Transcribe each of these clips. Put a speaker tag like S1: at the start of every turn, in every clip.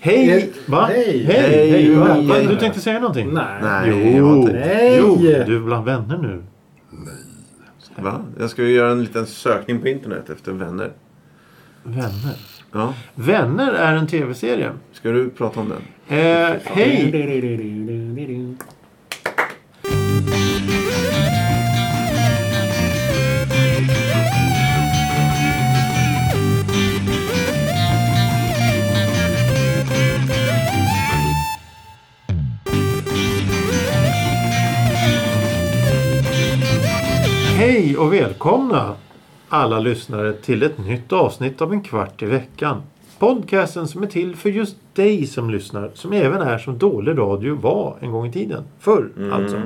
S1: Hej!
S2: Eh,
S1: Va?
S2: hej.
S1: Hej!
S2: Hej,
S1: Va?
S2: hej.
S1: Va? Du tänkte säga någonting?
S2: Nej.
S3: Nej,
S1: Jo.
S3: jag har inte-
S2: Nej.
S1: Jo, du är bland vänner nu.
S3: Va? Jag ska ju göra en liten sökning på internet efter vänner.
S1: Vänner.
S3: Ja.
S1: Vänner är en tv-serie.
S3: Ska du prata om den?
S1: Eh, hej! Hej och välkomna alla lyssnare till ett nytt avsnitt av En kvart i veckan. Podcasten som är till för just dig som lyssnar, som även är som dålig radio var en gång i tiden. Förr alltså.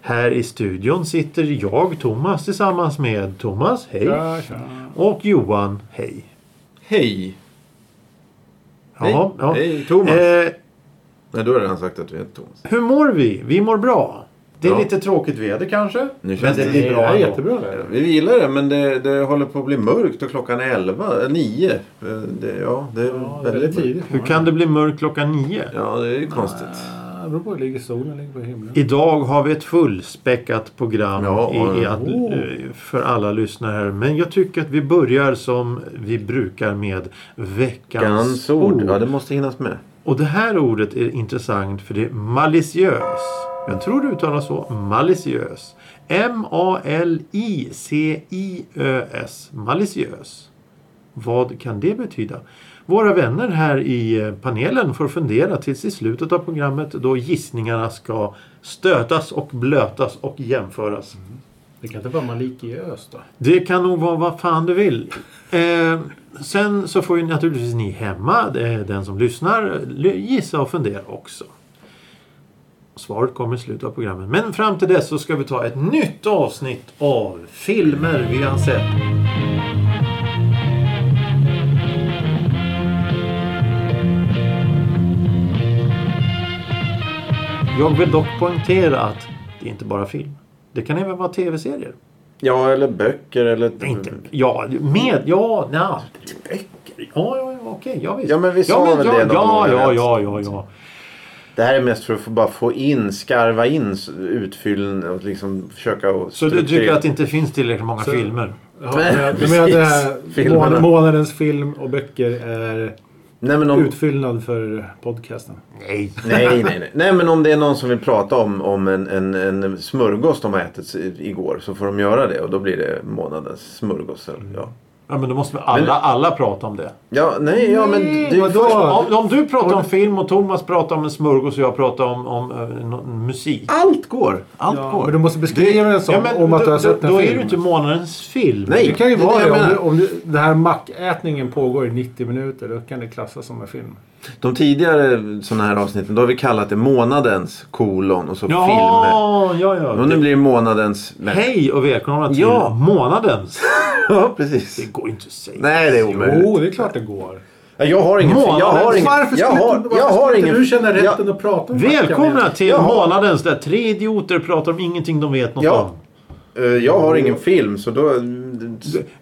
S1: Här i studion sitter jag, Thomas, tillsammans med Thomas, hej.
S2: Tja, tja.
S1: Och Johan, hej.
S3: Hej!
S1: Ja, ja.
S3: Hej, Thomas.
S1: Eh,
S3: Nej, då har jag redan sagt att du heter Thomas.
S1: hur mår vi? Vi mår bra. Det är
S3: Bra.
S1: lite tråkigt väder kanske.
S3: Nu känns det-
S1: blir
S2: Det är
S1: ändå.
S2: jättebra väder.
S3: Vi gillar det, men det, det håller på att bli mörkt och klockan är 11, eh, 9. Eh, Det, ja, det är
S2: Ja,
S3: väldigt,
S2: väldigt
S3: mörkt.
S2: tidigt.
S1: Hur kan det bli mörkt klockan nio?
S3: Ja, det är ju konstigt.
S2: Ah, Det beror på, ligger solen ligger på himlen.
S1: Idag har vi ett fullspäckat program
S3: Ja, oh.
S1: i, i
S3: ja.
S1: att, eh, för alla lyssnare. här. Men jag tycker att vi börjar som vi brukar med veckans
S3: Gans ord. Ja, det måste hinnas med.
S1: Och det här ordet är intressant för det är maliciös. Jag tror det uttalas så. Maliciös. M-A-L-I-C-I-Ö-S. Maliciös. Vad kan det betyda? Våra vänner här i eh, panelen får fundera tills i slutet av programmet då gissningarna ska stötas och blötas och jämföras.
S2: Det kan inte vara malikiöst då?
S1: Det kan nog vara vad fan du vill. Eh, sen så får ju naturligtvis ni hemma, eh, den som lyssnar, l- gissa och fundera också. Svaret kommer i slutet av programmet. Men fram till dess så ska vi ta ett nytt avsnitt av filmer vi har sett. Jag vill dock poängtera att det är inte bara film. Det kan även vara tv-serier.
S3: Ja, eller böcker eller...
S1: Nej, Inte, Mm. ja, med, ja, nja. Böcker? Ja, ja, ja, okej, ja visst.
S3: Ja, men vi sa väl
S1: ja,
S3: det någon
S1: ja,
S3: gång,
S1: ja,
S3: eller?
S1: ja, ja, ja.
S3: Det här är mest för att få, bara få in, skarva in s- utfyllen och liksom försöka och
S1: Så du tycker att det inte finns tillräckligt många
S2: Så-
S1: filmer?
S2: Ja,
S3: Nej,
S2: men jag- du
S3: precis.
S2: menar att det här
S3: Filmerna.
S2: mån- månadens film och böcker är
S3: Nej, men om,
S2: utfyllnad för podcasten?
S1: Nej.
S3: Nej, nej, nej. Nej, men om det är någon som vill prata om, om en, en, en smörgås de har ätit i- igår så får de göra det och då blir det månadens smörgås. Eller, ja.
S1: Ja, men då måste vi alla, alla prata om det.
S3: ja, nej, ja, men det är
S2: vadå?
S3: först-
S2: Ja.
S1: Om, om du pratar om film och Thomas pratar om en smörgås och jag pratar om, om eh, nå- musik.
S3: Allt går.
S1: Allt
S2: Ja,
S1: går.
S2: men du måste beskriva det som
S1: ja, men,
S2: om att
S1: då,
S2: du har sett
S1: då,
S2: en
S1: då
S2: film.
S1: är det inte månadens film.
S3: Nej.
S2: Det kan ju
S3: Det är
S2: vara det.
S3: det jag
S2: Om,
S3: menar.
S2: du, om du, den här mackätningen pågår i 90 minuter, då kan det klassas som en film.
S3: De tidigare sådana här avsnitten då har vi kallat det månadens kolon och så filmer.
S1: Jaha, ja, ja.
S3: Och nu blir det månadens...
S1: Hej och välkomna till
S3: Ja.
S1: månadens.
S3: Ja, precis.
S1: Det går ju inte att säga.
S3: Nej, det är
S2: Jo,
S3: omöjligt.
S2: det är klart det går.
S3: Ja, Jag har ingen... Jag har ingen...
S2: varför
S3: Jag
S2: skulle,
S3: har,
S2: inte- varför
S3: jag har
S2: skulle
S3: ingen...
S2: inte du känna
S3: jag-
S2: rätten att prata om
S1: Välkomna till
S3: Jaha.
S1: månadens där tre idioter pratar om ingenting de vet något
S3: Ja.
S1: om.
S3: eh, Jag har ingen film så då...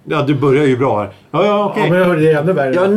S1: Ja, du börjar ju bra här. Ja, ja, okej.
S2: Ja, men jag hörde det ännu värre.
S3: Ja, en
S2: För han-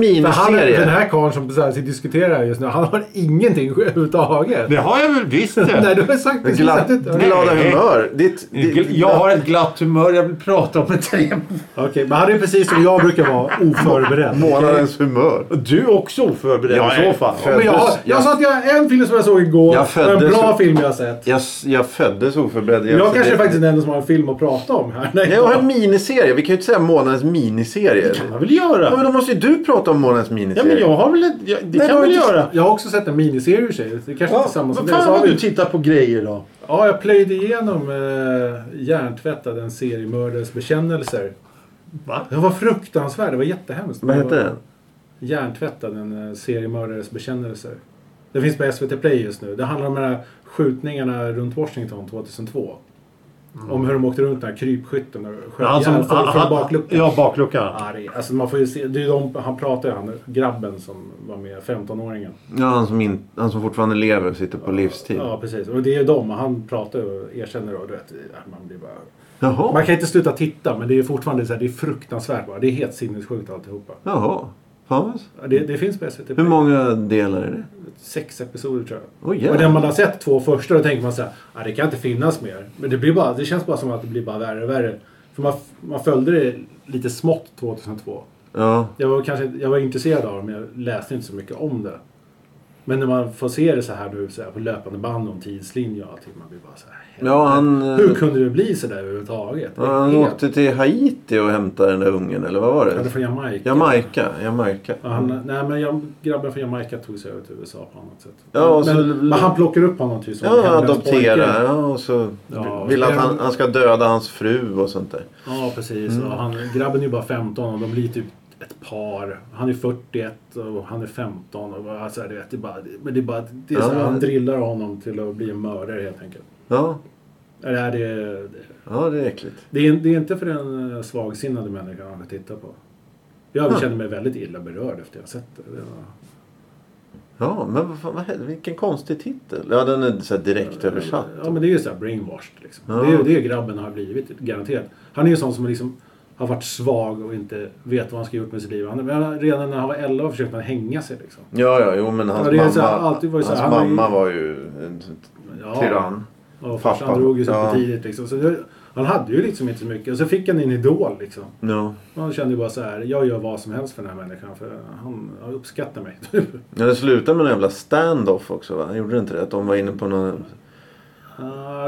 S3: miniserie.
S2: Den här karln som så här sitter och diskuterar just nu, han har ingenting överhuvudtaget.
S1: Det har jag väl visst det.
S2: Nej, du har sagt precis
S3: Gla,
S2: att du inte har det.
S3: glada humör. Ditt, ditt,
S1: Gl- Jag har ett glatt humör. Jag vill prata om ett tre.
S2: Okej, men han är precis som jag brukar vara, oförberedd.
S3: Månadens humör.
S1: Du är också oförberedd
S3: Jag är
S1: i så fall.
S3: för-
S2: Men jag, har- jag sa att jag har en film som jag såg igår
S3: Jag
S2: och en
S3: föddes-
S2: bra film jag har sett.
S3: Jag, jag föddes oförberedd.
S2: Jag,
S3: alltså,
S2: kanske
S3: det-
S2: är faktiskt den enda som har en film att prata om här. Nej,
S3: Nej, Jag har en miniserie. Vi kan ju inte säga månadens miniserie.
S1: Det kan man väl göra?
S3: Ja, men då måste ju du prata om månadens
S1: Ja,
S3: miniserie.
S1: men jag har väl ett, jag, Det
S2: Nej,
S1: kan
S2: du
S1: väl
S2: har inte-
S1: göra.
S2: Jag har också sett en miniserie i sig. Det kanske inte är samma som
S1: vad
S2: det. Så
S1: fan
S2: har
S1: vad
S2: vi-
S1: du tittar på grejer då?
S2: Ja, jag plöjde igenom eh, Hjärntvättad, en seriemördares bekännelser.
S1: Va?
S2: Den var fruktansvärd, det var jättehemskt.
S3: Vad heter
S2: var-
S3: den?
S2: Hjärntvättad, en eh, seriemördares bekännelser. Det finns på SVT Play just nu. Det handlar om de här skjutningarna runt Washington 2002. Om hur de åkte runt den här krypskytten och sköt
S1: Han Mm. som-
S2: ihjäl folk
S1: han-
S2: från
S1: han-
S2: bakluckan.
S1: Ja, bakluckan.
S2: Arg. Alltså man får ju se, det är de, han pratar ju, han grabben som var med, 15-åringen.
S3: Ja, han, som in, han som fortfarande lever och sitter på livstid.
S2: Ja, precis. Och det är ju de. och Han pratar ju och erkänner och du vet, man blir bara... Man
S3: Jaha.
S2: kan inte sluta titta, men det är fortfarande så här, det är fruktansvärt bara. Det är helt sinnessjukt alltihopa.
S3: Jaha. Hans?
S2: Ja, Det, det finns på SVT Play.
S3: Hur många delar är det?
S2: Sex episoder tror jag.
S3: Oj
S2: Och när
S3: jävlar.
S2: man har sett två första då tänker man så här, ah, det kan inte finnas mer. Men det, blir bara, det känns bara som att det blir bara värre och värre. För man, man följde det lite smått 2002.
S3: Ja.
S2: Jag var, kanske, jag var intresserad av det men jag läste inte så mycket om det. Men när man får se det så här nu så här, på löpande band om tidslinje och allting. Man blir bara så här,
S3: Ja, han,
S2: "Helvete,
S3: eh,
S2: Hur kunde det bli så där överhuvudtaget?
S3: Ja, Han
S2: Helt-
S3: åkte till Haiti och hämtade den där ungen, eller vad var
S2: Han är
S3: det?
S2: från Jamaica.
S3: Jamaica. Jamaica.
S2: Ja, han, nej, men jag, grabben från Jamaica tog sig över till USA på annat sätt.
S3: Ja, och
S2: men,
S3: så-
S2: men han plockar upp honom till som
S3: Ja,
S2: hemlös
S3: adoptera.
S2: pojke.
S3: Ja, och så
S2: Ja,
S3: vill att han,
S2: men-
S3: han ska döda hans fru och sånt där.
S2: Ja, precis. Och han, grabben är ju bara 15 och de blir typ ett par. Han är 41 och han är 15. Och bara, alltså, du vet, det är bara, men det är bara, det är så här,
S3: Ja.
S2: han drillar honom till att bli en mördare helt enkelt.
S3: Ja,
S2: Eller är det,
S3: ja det är äckligt.
S2: det, är, det är inte för den eh, svagsinnade människan att titta på. Jag
S3: Ja.
S2: känner mig väldigt illa berörd efter jag sett det. det var,
S3: Ja, men vad fan, vad hel- vilken konstig titel. Ja, den är så här direkt översatt.
S2: Ja men det är ju såhär brainwashed liksom.
S3: Ja.
S2: Det är ju det grabben har blivit, garanterat. Han är ju en sån som liksom har varit svag och inte vet vad han ska gjort med sitt liv. Han, men redan när han var 11 försökte han hänga sig liksom.
S3: Ja, ja, jo men hans
S2: Ja, det är så
S3: mamma,
S2: här, alltid var det så
S3: hans
S2: här, han var ju-
S3: mamma var ju en
S2: Ja.
S3: tyrann.
S2: Och
S3: Pappa.
S2: farsan drog ju sig
S3: Ja.
S2: för tidigt liksom. Så det, han hade ju liksom inte så mycket. Och så fick han en idol liksom.
S3: Ja.
S2: Och han kände ju bara så här: jag gör vad som helst för den här människan för han han uppskattar mig. ja,
S3: Ja, det slutade med en jävla stand-off också va? Gjorde det inte det? Att de var inne på någon...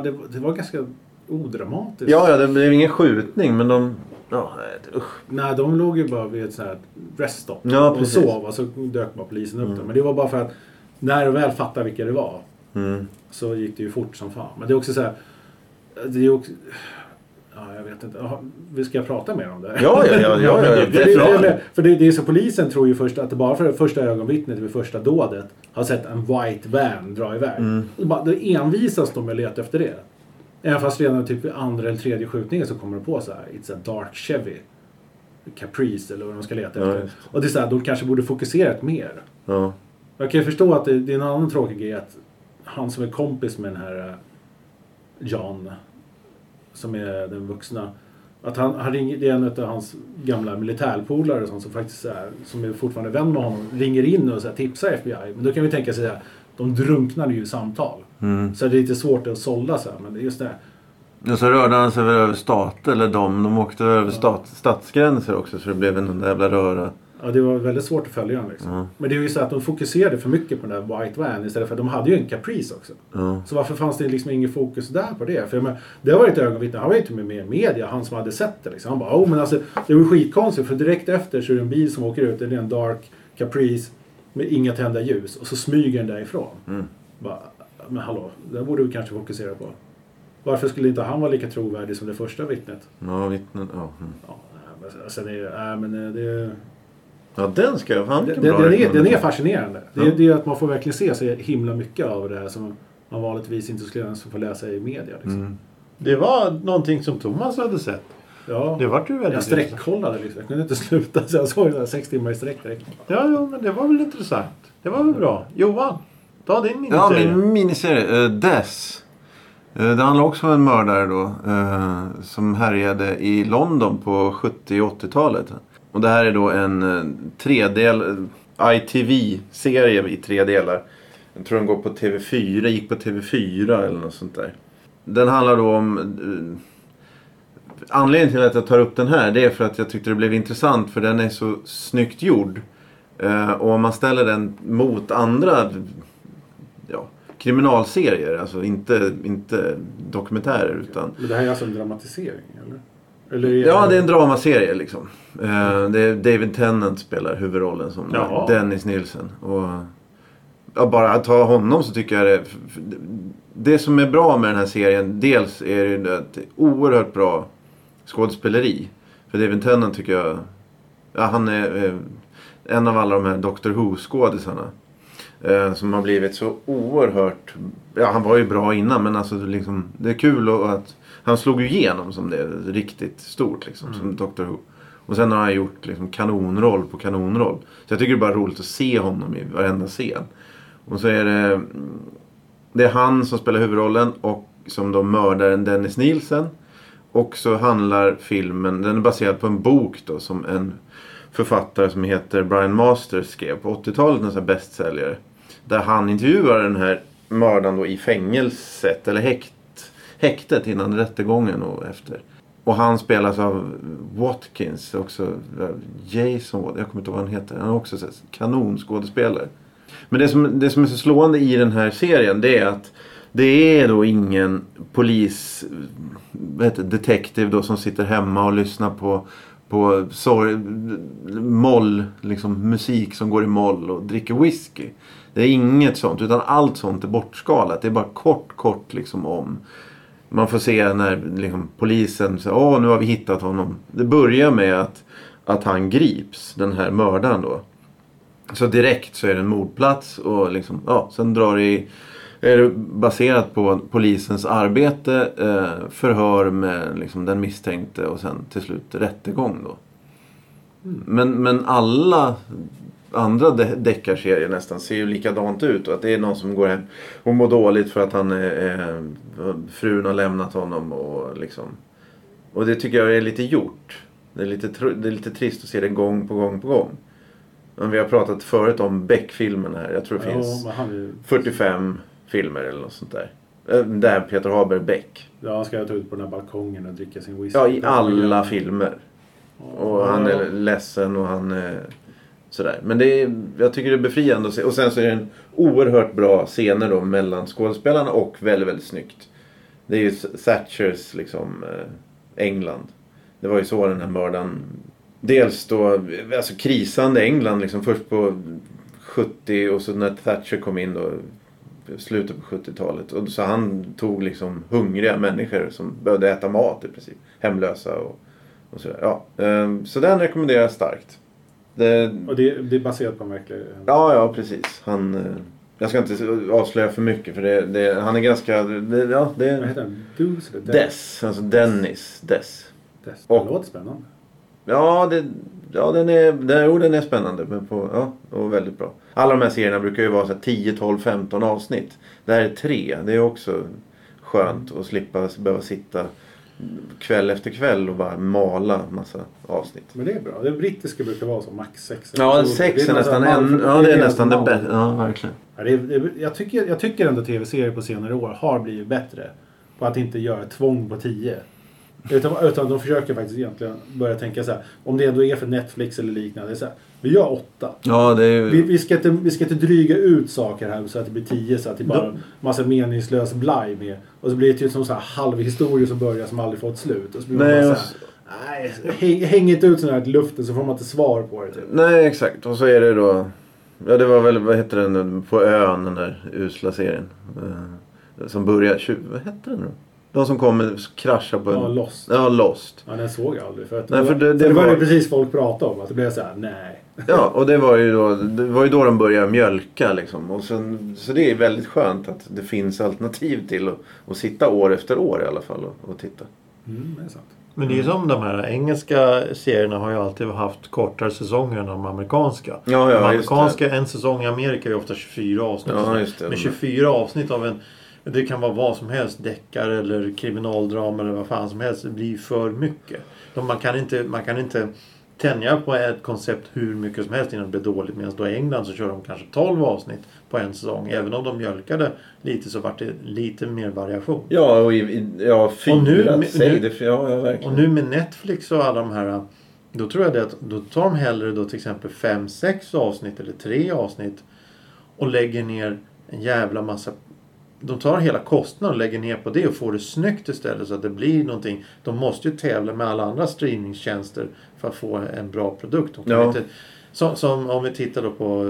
S2: det, var- det var ganska odramatiskt.
S3: Ja, ja, det blev ingen skjutning men de... Ja, nej, usch.
S2: Nej, de låg ju bara vid ett sånt här reststopp
S3: Ja,
S2: och
S3: precis.
S2: sov och så dök bara polisen upp dem. Men det var bara för att när de väl fattade vilka det var
S3: Mm.
S2: så gick det ju fort som fan. Men det är också så här... Det är ju också, ja, jag vet inte. Jaha, Vi ska prata mer om det?
S3: Ja, ja, ja, ja, ja,
S2: det, det, det,
S3: ja.
S2: det, för det, det är så polisen tror ju först att det bara för det första ögonvittnet vid första dådet har sett en white van dra iväg.
S3: Mm.
S2: Och bara, då envisas de med att leta efter det. Även fast redan typ vid andra eller tredje skjutningen så kommer de på så här, it's a dark Chevy. Caprice eller vad de ska leta
S3: Ja,
S2: efter.
S3: just
S2: och det är så här, de kanske borde fokuserat mer.
S3: Ja.
S2: Jag kan ju förstå att det, det är en annan tråkig grej att han som är kompis med den här eh, Jan, som är den vuxna, att han, han ringer, det är en av hans gamla militärpolare och sånt som faktiskt är, som är fortfarande vän med honom, ringer in och så här, tipsar FBI. Men då kan vi tänka sig att de drunknar ju i samtal. Så det är lite svårt att sålla så här, men det är just det. här.
S3: Och så rörde han sig väl över stater, eller de. De åkte över stat, statsgränser också så det blev en jävla röra.
S2: Ja, det var väldigt svårt att följa dem liksom.
S3: Ja.
S2: Men det är ju så att de fokuserade för mycket på den där White Van istället för att de hade ju en Caprice också.
S3: Ja.
S2: Så varför fanns det liksom ingen fokus där på det? För jag menar, det var ju ett ögonvittne. Han var ju inte med i media, han som hade sett det. Liksom. Han bara, oh, men alltså, det var ju skitkonstigt för direkt efter så är det en bil som åker ut. Det är en dark caprice med inga tända ljus och så smyger den därifrån.
S3: Mm.
S2: Bara, men hallå, det här borde vi kanske fokusera på. Varför skulle inte han vara lika trovärdig som det första vittnet?
S3: Ja, vittnen. Ja. Mm.
S2: Ja, men sen är det, nej, men eh, det,
S3: ja, den ska jag... Fan
S2: den,
S3: vilken
S2: den,
S3: bra
S2: är, den är
S3: rekommendation.
S2: fascinerande. Det,
S3: Ja.
S2: är- det är att man får verkligen se så himla mycket av det här som man vanligtvis inte skulle ens få läsa i media. Liksom.
S3: Mm.
S1: Det var någonting som Thomas hade sett.
S2: Ja.
S1: Det vart ju väldigt
S2: Jag sträckkollade liksom. Jag kunde inte sluta. Så jag såg det där sex timmar i sträck direkt.
S1: Ja, ja, men det var väl intressant. Det var väl bra. Johan, ta din
S3: Ja,
S1: miniserie.
S3: min miniserie. eh, Death. Eh, det handlar också om en mördare då. eh, som härjade i London på 70 och 80-talet. Och det här är då en uh, tredel eh, ITV-serie i tre delar. Jag tror den går på TV4, gick på TV4 eller något sånt där. Den handlar då om... eh, anledningen till att jag tar upp den här det är för att jag tyckte det blev intressant för den är så snyggt gjord. Eh, och om man ställer den mot andra ja, kriminalserier, alltså inte, inte dokumentärer utan
S2: Men det här är alltså en dramatisering eller? eller
S3: Ja, det är en dramaserie liksom. Eh, det är David Tennant spelar huvudrollen som
S2: Jaha.
S3: Dennis Nilsen. Och, ja, bara att ta honom så tycker jag det... Det som är bra med den här serien, dels är det ju att det är oerhört bra skådespeleri. För David Tennant tycker jag... Ja, han är eh, en av alla de här Doctor Who-skådisarna. Eh, som har blivit så oerhört... Ja, han var ju bra innan men alltså det liksom, det är kul och, och att... Han slog ju igenom som det är riktigt stort liksom, som Doctor Who. Och sen har han gjort liksom, kanonroll på kanonroll. Så jag tycker det är bara roligt att se honom i varenda scen. Och så är det... mm, Det är han som spelar huvudrollen och som då mördaren Dennis Nielsen. Och så handlar filmen, den är baserad på en bok då som en författare som heter Brian Masters skrev på 80-talet, en sån här bästsäljare. Där han intervjuar den här mördaren då i fängelset eller häkt, häktet innan rättegången och efter. Och han spelas av Watkins, också eh, Jason Watkins, jag kommer inte ihåg vad han heter. Han är också så här kanonskådespelare. Men det som, det som är så slående i den här serien det är att det är då ingen polis, vad heter det, detektiv då som sitter hemma och lyssnar på, på sorg, moll, liksom musik som går i moll och dricker whisky. Det är inget sånt utan allt sånt är bortskalat. Det är bara kort, kort liksom om. Man får se när liksom, polisen säger åh nu har vi hittat honom. Det börjar med att, att han grips, den här mördaren då. Så direkt så är det en mordplats och liksom, ja, sen drar det i- är det baserat på polisens arbete, eh, förhör med liksom den misstänkte och sen till slut rättegång då. Men, men alla andra de- deckarserier nästan ser ju likadant ut. Och att det är någon som går hem och mår dåligt för att han är, eh, frun har lämnat honom och liksom. Och det tycker jag är lite gjort. Det är lite, tr- det är lite trist att se det gång på gång på gång. Men vi har pratat förut om Beck-filmen här. Jag tror det finns...
S2: men han är ju...
S3: 45 filmer eller något sånt där. Eh, Där Peter Haber Beck.
S2: Ja, han ska jag ta ut på den här balkongen och dricka sin whisky.
S3: Ja, i alla filmer.
S2: Ja.
S3: Och han är ledsen och han eh, sådär. Men det är, jag tycker det är befriande att se. Och sen så är det en oerhört bra scener då mellan skådespelarna och väldigt, väldigt snyggt. Det är ju S- Thatchers liksom eh, England. Det var ju så den här mördaren. Dels då, alltså krisande England liksom. Först på 70 och så när Thatcher kom in då. Slutet på 70-talet. Och så han tog liksom hungriga människor som behövde äta mat i princip. Hemlösa och och sådär. Ja. ehm, Så den rekommenderar jag starkt. Det,
S2: Och det, det är baserat på en verklig...
S3: ja, ja, precis. Han, eh, jag ska inte avslöja för mycket för det, det, han är ganska... Det, ja, det
S2: Vad
S3: är
S2: heter den? Deuce eller
S3: Dess. Alltså Dennis Dess.
S2: Dess.
S3: Och-
S2: Det låter spännande.
S3: Ja, det, ja den, är, den, jo, den är spännande men på, ja, och väldigt bra. Alla de här serierna brukar ju vara så här 10, 12, 15 avsnitt. Det här är tre. Det är också skönt att slippa behöva sitta kväll efter kväll och bara mala massa avsnitt.
S2: Men det är bra. Det brittiska brukar vara så, max sex.
S3: Ja,
S2: episoder.
S3: sex
S2: Det
S3: är
S2: någon sån
S3: nästan
S2: här
S3: en,
S2: mall-
S3: ja, det är
S2: en
S3: nästan det
S2: mall.
S3: bästa. Ja, verkligen.
S2: Ja, det är, det är, jag, tycker, jag tycker ändå tv-serier på senare år har blivit bättre på att inte göra tvång på tio. Utan, utan de försöker faktiskt egentligen börja tänka så här. Om det ändå är för Netflix eller liknande. Så här, vi gör åtta.
S3: Ja, det är ju...
S2: Vi, vi, ska inte, vi ska inte dryga ut saker här så att det blir tio så att det bara massa meningslös blaj med. Och så blir det typ som så här halvhistorier som börjar som aldrig fått slut. Och så blir man
S3: Nej,
S2: bara
S3: och
S2: så här, nej, häng, häng inte ut sådana här i luften så får man inte svar på det. Typ.
S3: Nej, exakt. Och så är det då... Ja, det var väl, vad hette den nu? på ön, den där usla serien? Eh, som börjar... tju- Vad hette den då? De som kommer kraschar på en...
S2: Ja, Lost.
S3: Ja, Lost.
S2: Ja, den såg jag aldrig. För, att
S3: Nej, för det-
S2: det,
S3: det
S2: var
S3: var-
S2: ju precis folk pratade om. Att det blev så här, nej.
S3: Ja, och det var ju då, det var ju då de började mjölka liksom. Och sen, så det är väldigt skönt att det finns alternativ till att, att sitta år efter år i alla fall och, och titta.
S2: Mm, det är sant.
S1: Men det är ju som de här engelska serierna har ju alltid haft kortare säsonger än de amerikanska.
S3: Ja, ja,
S1: de
S3: just
S1: amerikanska, en säsong i Amerika är ju ofta 24 avsnitt.
S3: Ja, just det.
S1: Men 24 avsnitt av en, det kan vara vad som helst, deckare eller kriminaldrama eller vad fan som helst. Det blir ju för mycket. De, man, kan inte, man kan inte tänja på ett koncept hur mycket som helst innan det blir dåligt. Medan då i England så kör de kanske 12 avsnitt på en säsong. Även om de mjölkade lite så vart det lite mer variation.
S3: Ja, och i, i, ja, fyra,
S1: Och nu- nu-
S3: säg det, för- ja, ja, verkligen.
S1: Och nu med Netflix och alla de här. Då tror jag det att då tar de hellre då till exempel 5-6 avsnitt eller 3 avsnitt. Och lägger ner en jävla massa. De tar hela kostnaden och lägger ner på det och får det snyggt istället så att det blir någonting. De måste ju tävla med alla andra streamingtjänster för att få en bra produkt. De kan
S3: Ja.
S1: inte, som, som om vi tittar då på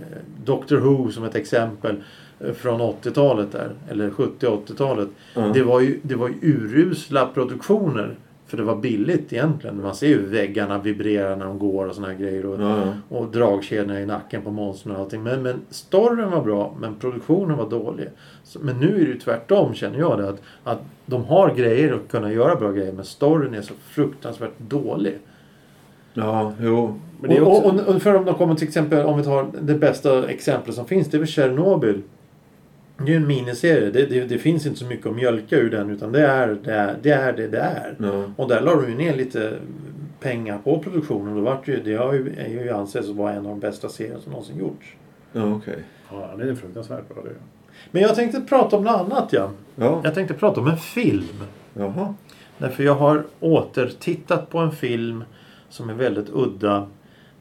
S1: eh, Doctor Who som ett exempel eh, från 80-talet där, eller 70-80-talet.
S3: Mm.
S1: Det, var ju, det var ju urusla produktioner. För det var billigt egentligen. Man ser ju väggarna vibrera när de går och såna här grejer. Och,
S3: Ja, ja.
S1: och dragkedjorna i nacken på monstren och allting. Men, men storyn var bra, men produktionen var dålig. Så, men nu är det ju tvärtom känner jag det. Att, att de har grejer och kunna göra bra grejer men storyn är så fruktansvärt dålig.
S3: Ja, jo.
S2: Men det är
S1: och,
S2: också...
S1: och, och för om de kommer till exempel, om vi tar det bästa exemplet som finns, det är väl Tjernobyl. Det är ju en miniserie. Det, det, det finns inte så mycket att mjölka ur den utan det är det är, det är, det, det är.
S3: Ja.
S1: Och där la de ju ner lite pengar på produktionen. Då vart ju, det har ju, är ju anses vara en av de bästa serierna som någonsin gjorts.
S3: Ja, okej.
S2: Ja, det är en fruktansvärt bra det.
S1: Men jag tänkte prata om något annat ja.
S3: Ja,
S1: Jag tänkte prata om en film.
S3: jaha.
S1: Därför jag har återtittat på en film som är väldigt udda.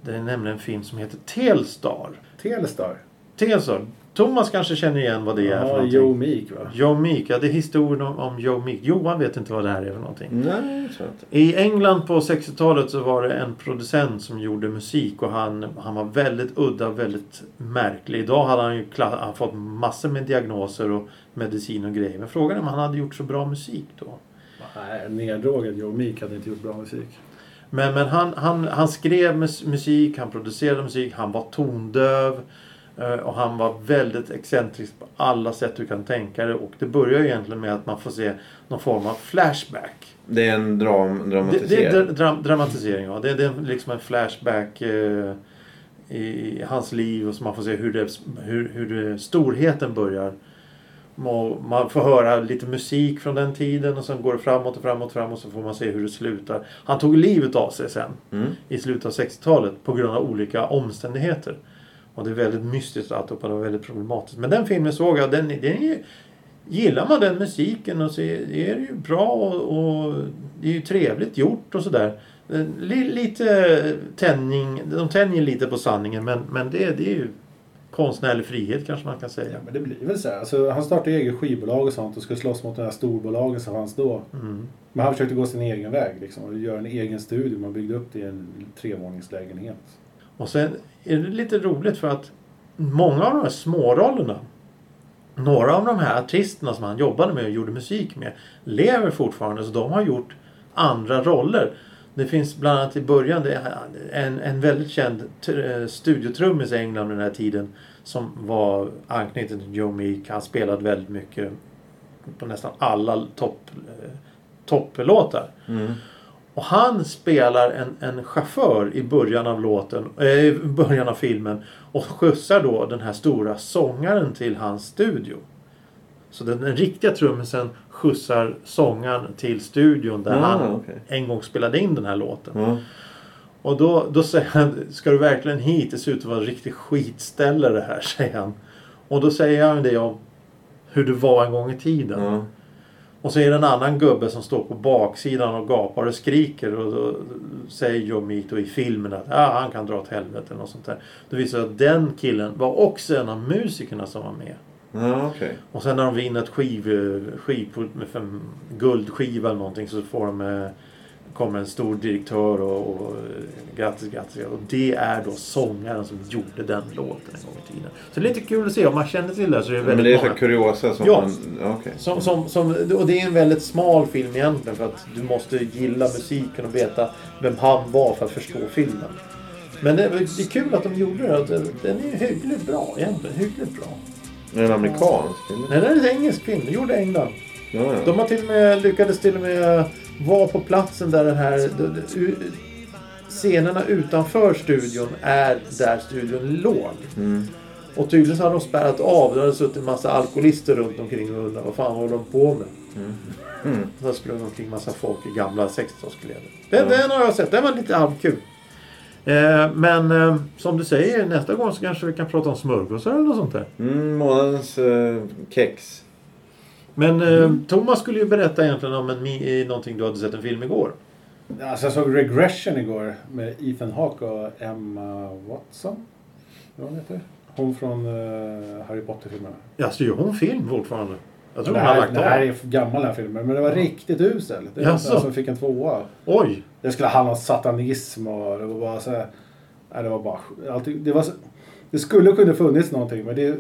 S1: Det är nämligen en film som heter Telstar.
S2: Telstar.
S1: Telstar. Thomas kanske känner igen vad det är för
S2: Ja,
S1: någonting.
S2: Joe Meek va?
S1: Joe Meek, ja det är historien om, om Joe Meek. Johan vet inte vad det här är för någonting.
S3: Nej, det tror jag inte.
S1: I England på 60-talet så var det en producent som gjorde musik och han, han var väldigt udda, väldigt märklig. Idag hade han ju kla- han fått massor med diagnoser och medicin och grejer. Men frågan är om han hade gjort så bra musik då.
S2: Nej, neddrogad Joe Meek hade inte gjort bra musik.
S1: Men, men han, han, han skrev mus- musik, han producerade musik, han var tondöv. eh, Och han var väldigt excentrisk på alla sätt du kan tänka dig. Och det börjar ju egentligen med att man får se någon form av flashback.
S3: Det är en dram,
S1: Det, det
S3: dramatisering.
S1: är dra- dramatisering, ja. Det, det är liksom en flashback eh, i, i hans liv och så man får se hur, det, hur, hur det, storheten börjar. Må- Man får höra lite musik från den tiden och sen går det framåt och framåt och framåt så får man se hur det slutar. Han tog livet av sig sen
S3: Mm.
S1: i slutet av 60-talet på grund av olika omständigheter. Och det är väldigt mystiskt alltihopa, det var väldigt problematiskt. Men den filmen såg jag, den, den är ju, gillar man den musiken och så är, är det ju bra och, och det är ju trevligt gjort och sådär. Men li- Lite tänjning, de tänjer lite på sanningen men, men det, det är ju konstnärlig frihet kanske man kan säga.
S2: Ja, men det blir väl så här. Alltså, han startade eget skivbolag och sånt och skulle slåss mot de här storbolagen som fanns då.
S1: Mm.
S2: Men han försökte gå sin egen väg liksom och göra en egen studio. Man byggde upp det i en trevåningslägenhet.
S1: Och sen är det lite roligt för att många av de här smårollerna några av de här artisterna som han jobbade med och gjorde musik med lever fortfarande så de har gjort andra roller. Det finns bland annat i början det är en, en väldigt känd tr- eh, studiotrummis i England vid den här tiden som var anknuten till Joe Meek. Han spelade väldigt mycket på nästan alla topp, eh, topplåtar.
S3: Mm.
S1: Och han spelar en, en chaufför i början av låten, eh, i början av filmen och skjutsar då den här stora sångaren till hans studio. Så den, den riktiga trummisen skjutsar sångaren till studion där
S3: Ah,
S1: han
S3: okej.
S1: en gång spelade in den här låten.
S3: Ja.
S1: Och då, då säger han, ska du verkligen hit? Det ser ut att vara en riktig skitställe det här, säger han. Och då säger han det om hur det var en gång i tiden.
S3: Ja.
S1: Och så är det en annan gubbe som står på baksidan och gapar och skriker. Och då säger Joe Meek då i filmen att ah, han kan dra åt helvete eller något sånt där. Då visar det sig att den killen var också en av musikerna som var med.
S3: Ja, okej.
S1: Och sen när de vinner ett skiv, skiv, med fem, guldskiva eller någonting så får de, eh, kommer en stor direktör och, och eh, grattis, grattis. Och det är då sångaren som gjorde den låten en gång i tiden. Så det är lite kul att se. Om man känner till det här så är det
S3: Men
S1: väldigt
S3: det är
S1: många.
S3: så kuriosa som
S1: Ja.
S3: man... Ja, okej.
S1: Som, som, som, och det är en väldigt smal film egentligen för att du måste gilla musiken och veta vem han var för att förstå filmen. Men det, det är kul att de gjorde det. att det- Den är hyggligt bra egentligen. Hyggligt bra.
S3: Är det en amerikansk? eller?
S1: Nej, det är en engelsk film. Den gjorde i England.
S3: Ja, ja.
S1: De har till och med, lyckades till och med vara på platsen där den här... d- d- u- Scenerna utanför studion är där studion låg.
S3: Mm.
S1: Och tydligen så hade de spärrat av. Det hade suttit en massa alkoholister runt omkring och undrat vad fan håller de på med?
S3: Mm.
S1: Där sprang omkring massa folk i gamla 60-talskläder. Den, den har jag sett. Den var lite halvkul. Eh, men eh, som du säger, nästa gång så kanske vi kan prata om smörgåsar eller något sånt där.
S3: Mm, månadens eh, kex.
S1: Men eh,
S2: Mm.
S1: Thomas skulle ju berätta egentligen om en, mi- eh, någonting du hade sett en film igår.
S2: Alltså, jag såg Regression igår med Ethan Hawke och Emma Watson. Vad hon heter. Hon från eh, Harry Potter-filmerna.
S1: Alltså gör hon film fortfarande? Jag tror
S2: Det
S1: hon har
S2: här,
S1: lagt
S2: det här
S1: av.
S2: är gammal den här filmen, men den var riktigt usel. Det är den
S1: Jaså?
S2: som fick en tvåa.
S1: Oj!
S2: Det skulle handla om satanism och det var bara så här, nej, det var bara allting, det, var så, det skulle kunna funnits någonting men det,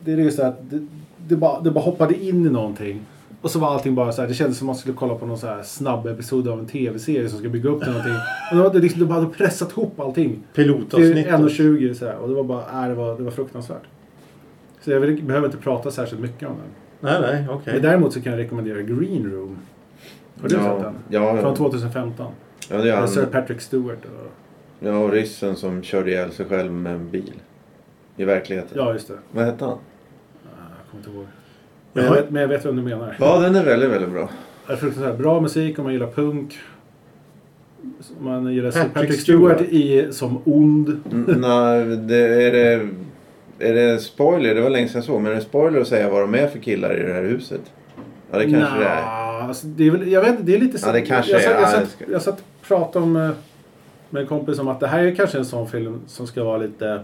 S2: det är just det att det, det, bara, det bara hoppade in i någonting. Och så var allting bara så här, det kändes som att man skulle kolla på någon så här snabb episod av en tv-serie som ska bygga upp till någonting. Och då hade det liksom, de hade pressat ihop allting. Till
S1: Pilotavsnitt.
S2: 1.20 så här, och det var bara, nej, det var, det var fruktansvärt. Så jag vill, behöver inte prata särskilt mycket om den.
S1: Nej, nej, okej.
S2: Men däremot så kan jag rekommendera Green Room. Har du sett
S3: Ja,
S2: den?
S3: ja,
S2: Från
S3: ja.
S2: 2015.
S3: ja, det är
S2: Med Sir
S3: han.
S2: Alltså, Patrick Stewart. Och,
S3: Ja, och ryssen som körde ihjäl sig själv med en bil. I verkligheten.
S2: ja, just det.
S3: Vad hette han?
S2: Ah, Jag kommer inte ihåg. Men jag
S1: Jaha.
S2: vet, men jag vet vem du menar.
S3: Ja, den är väldigt, väldigt bra.
S2: Det är fruktansvärt bra musik om man gillar punk. Om man gillar Patrick,
S1: Patrick
S2: Patrick
S1: Stewart.
S2: Stewart i, som ond.
S3: Nej, det, är, det, är det spoiler? Det var länge sedan jag såg. Men är det spoiler att säga vad de är för killar i det här huset? Ja, det kanske det är.
S2: Nja, alltså, det är. Väl, jag vet inte, det är lite...
S3: Ja, det kanske
S2: jag, satt,
S3: är,
S2: jag,
S3: ja,
S2: satt,
S3: det ska-
S2: jag satt och pratade om, eh, med en kompis om att det här är kanske en sån film som ska vara lite...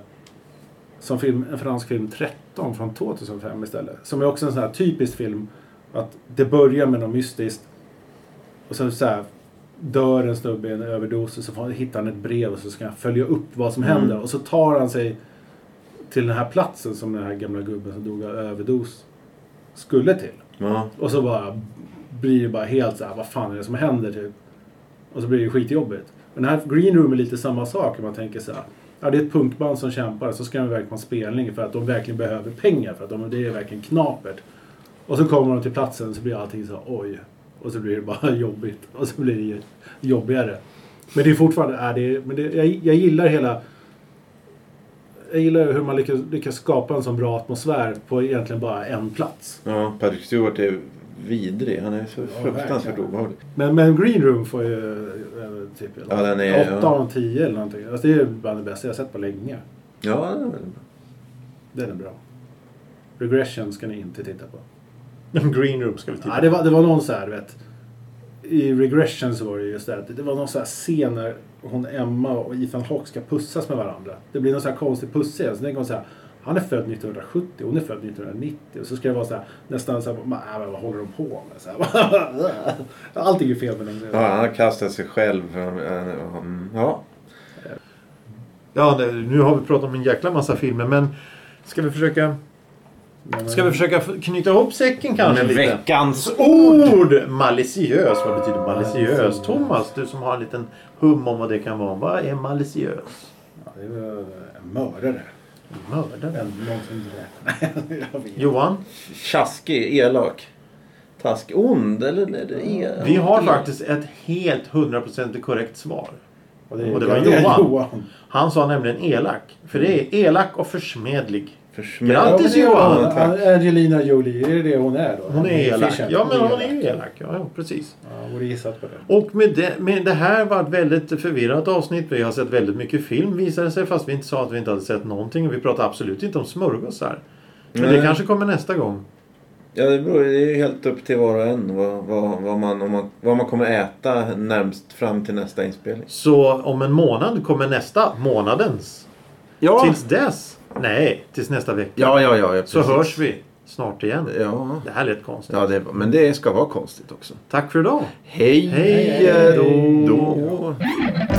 S2: Som film, en fransk film 13 från 2005 istället. Som är också en sån här typisk film. Att det börjar med något mystiskt. Och sen så här dör en snubbe i en överdos och så får- hittar han ett brev och så ska han följa upp vad som
S3: Mm.
S2: händer. Och så tar han sig till den här platsen som den här gamla gubben som dog av överdos skulle till.
S3: Ja.
S2: Och så bara blir det bara helt så här, vad fan är det som händer typ? Och så blir det skitjobbigt. Men den här Green Room är lite samma sak. Man tänker så här, ja det är ett punkband som kämpar så ska de iväg på en spelning för att de verkligen behöver pengar för att de, det är verkligen knapert. Och så kommer de till platsen så blir allting så här, oj. Och så blir det bara jobbigt. Och så blir det jobbigare. Men det är fortfarande, är det, men det, jag, jag gillar hela jag gillar hur man lyckas, lyckas skapa en sån bra atmosfär på egentligen bara en plats.
S3: ja, Patrick Stewart är vidrig. Han är så fruktansvärt
S2: verkligen.
S3: obehaglig.
S2: Men, men Green Room får ju eh, typ
S3: Ja, den är-
S2: 8
S3: ja.
S2: av 10 eller någonting. Alltså, det är ju bland det bästa jag sett på länge.
S3: Ja, det är väl bra.
S2: Den är bra. Regression ska ni inte titta på.
S1: Green Room ska vi titta
S2: Ja, det, var, det var någon så här, vet. I Regression så var det just det att det var någon så här scen när hon Emma och Ethan Hawke ska pussas med varandra. Det blir någon så här konstig pusscen. Så tänker hon så här, han är född 1970, hon är född 1990. Och så ska det vara så här, nästan så här, "Ma, men vad håller de på med? Så här, Allting är fel med den.
S3: ja, han har kastat sig själv. fram- mm, Ja.
S1: Ja, det- nu har vi pratat om en jäkla massa filmer, men ska vi försöka,
S2: Men-
S1: ska vi försöka f- knyta ihop säcken kanske
S3: Men
S1: lite? Alltså,
S3: veckans...
S1: Ord! Maliciös, vad betyder maliciös? Thomas, du som har en liten hum om vad det kan vara. Vad är maliciös?
S2: Ja, det var en mördare.
S1: Mördare?
S2: En, någon som grät. Nej, jag vet.
S1: Johan,
S3: Tjaskig, elak. Task, ond eller? eller el,
S1: vi har
S3: el-
S1: faktiskt ett helt 100% korrekt svar.
S2: Och det,
S1: Och det var
S2: det är
S1: Johan.
S2: Johan.
S1: Han sa nämligen elak. För det är elak och försmedlig.
S3: Försmäd...
S1: Ja, Grattis,
S2: Ja, men det är
S1: Johan,
S2: hon. Angelina Jolie, är det det hon är då?
S1: Hon är elak.
S2: Fisher.
S1: Ja, men hon är ju elak. Ja, ja, precis.
S2: Ja, jag borde gissat på det.
S1: Och med det, med det här var ett väldigt förvirrat avsnitt. Vi har sett väldigt mycket film visade det sig fast vi inte sa att vi inte hade sett någonting. Och vi pratade absolut inte om smörgåsar. Men det
S3: Nej.
S1: kanske kommer nästa gång.
S3: Ja, det beror det är ju helt upp till var och en vad, vad, vad, man, om man, vad man kommer äta närmst fram till nästa inspelning.
S1: Så om en månad kommer nästa, månadens.
S3: Ja,
S1: Tills dess, nej, tills nästa vecka.
S3: ja, ja. ja, ja
S1: Så
S3: precis.
S1: hörs vi snart igen.
S3: Ja,
S1: Det här lät konstigt.
S3: ja det, men det ska vara konstigt också.
S1: Tack för idag.
S3: Hej,
S1: Hej då.
S3: då.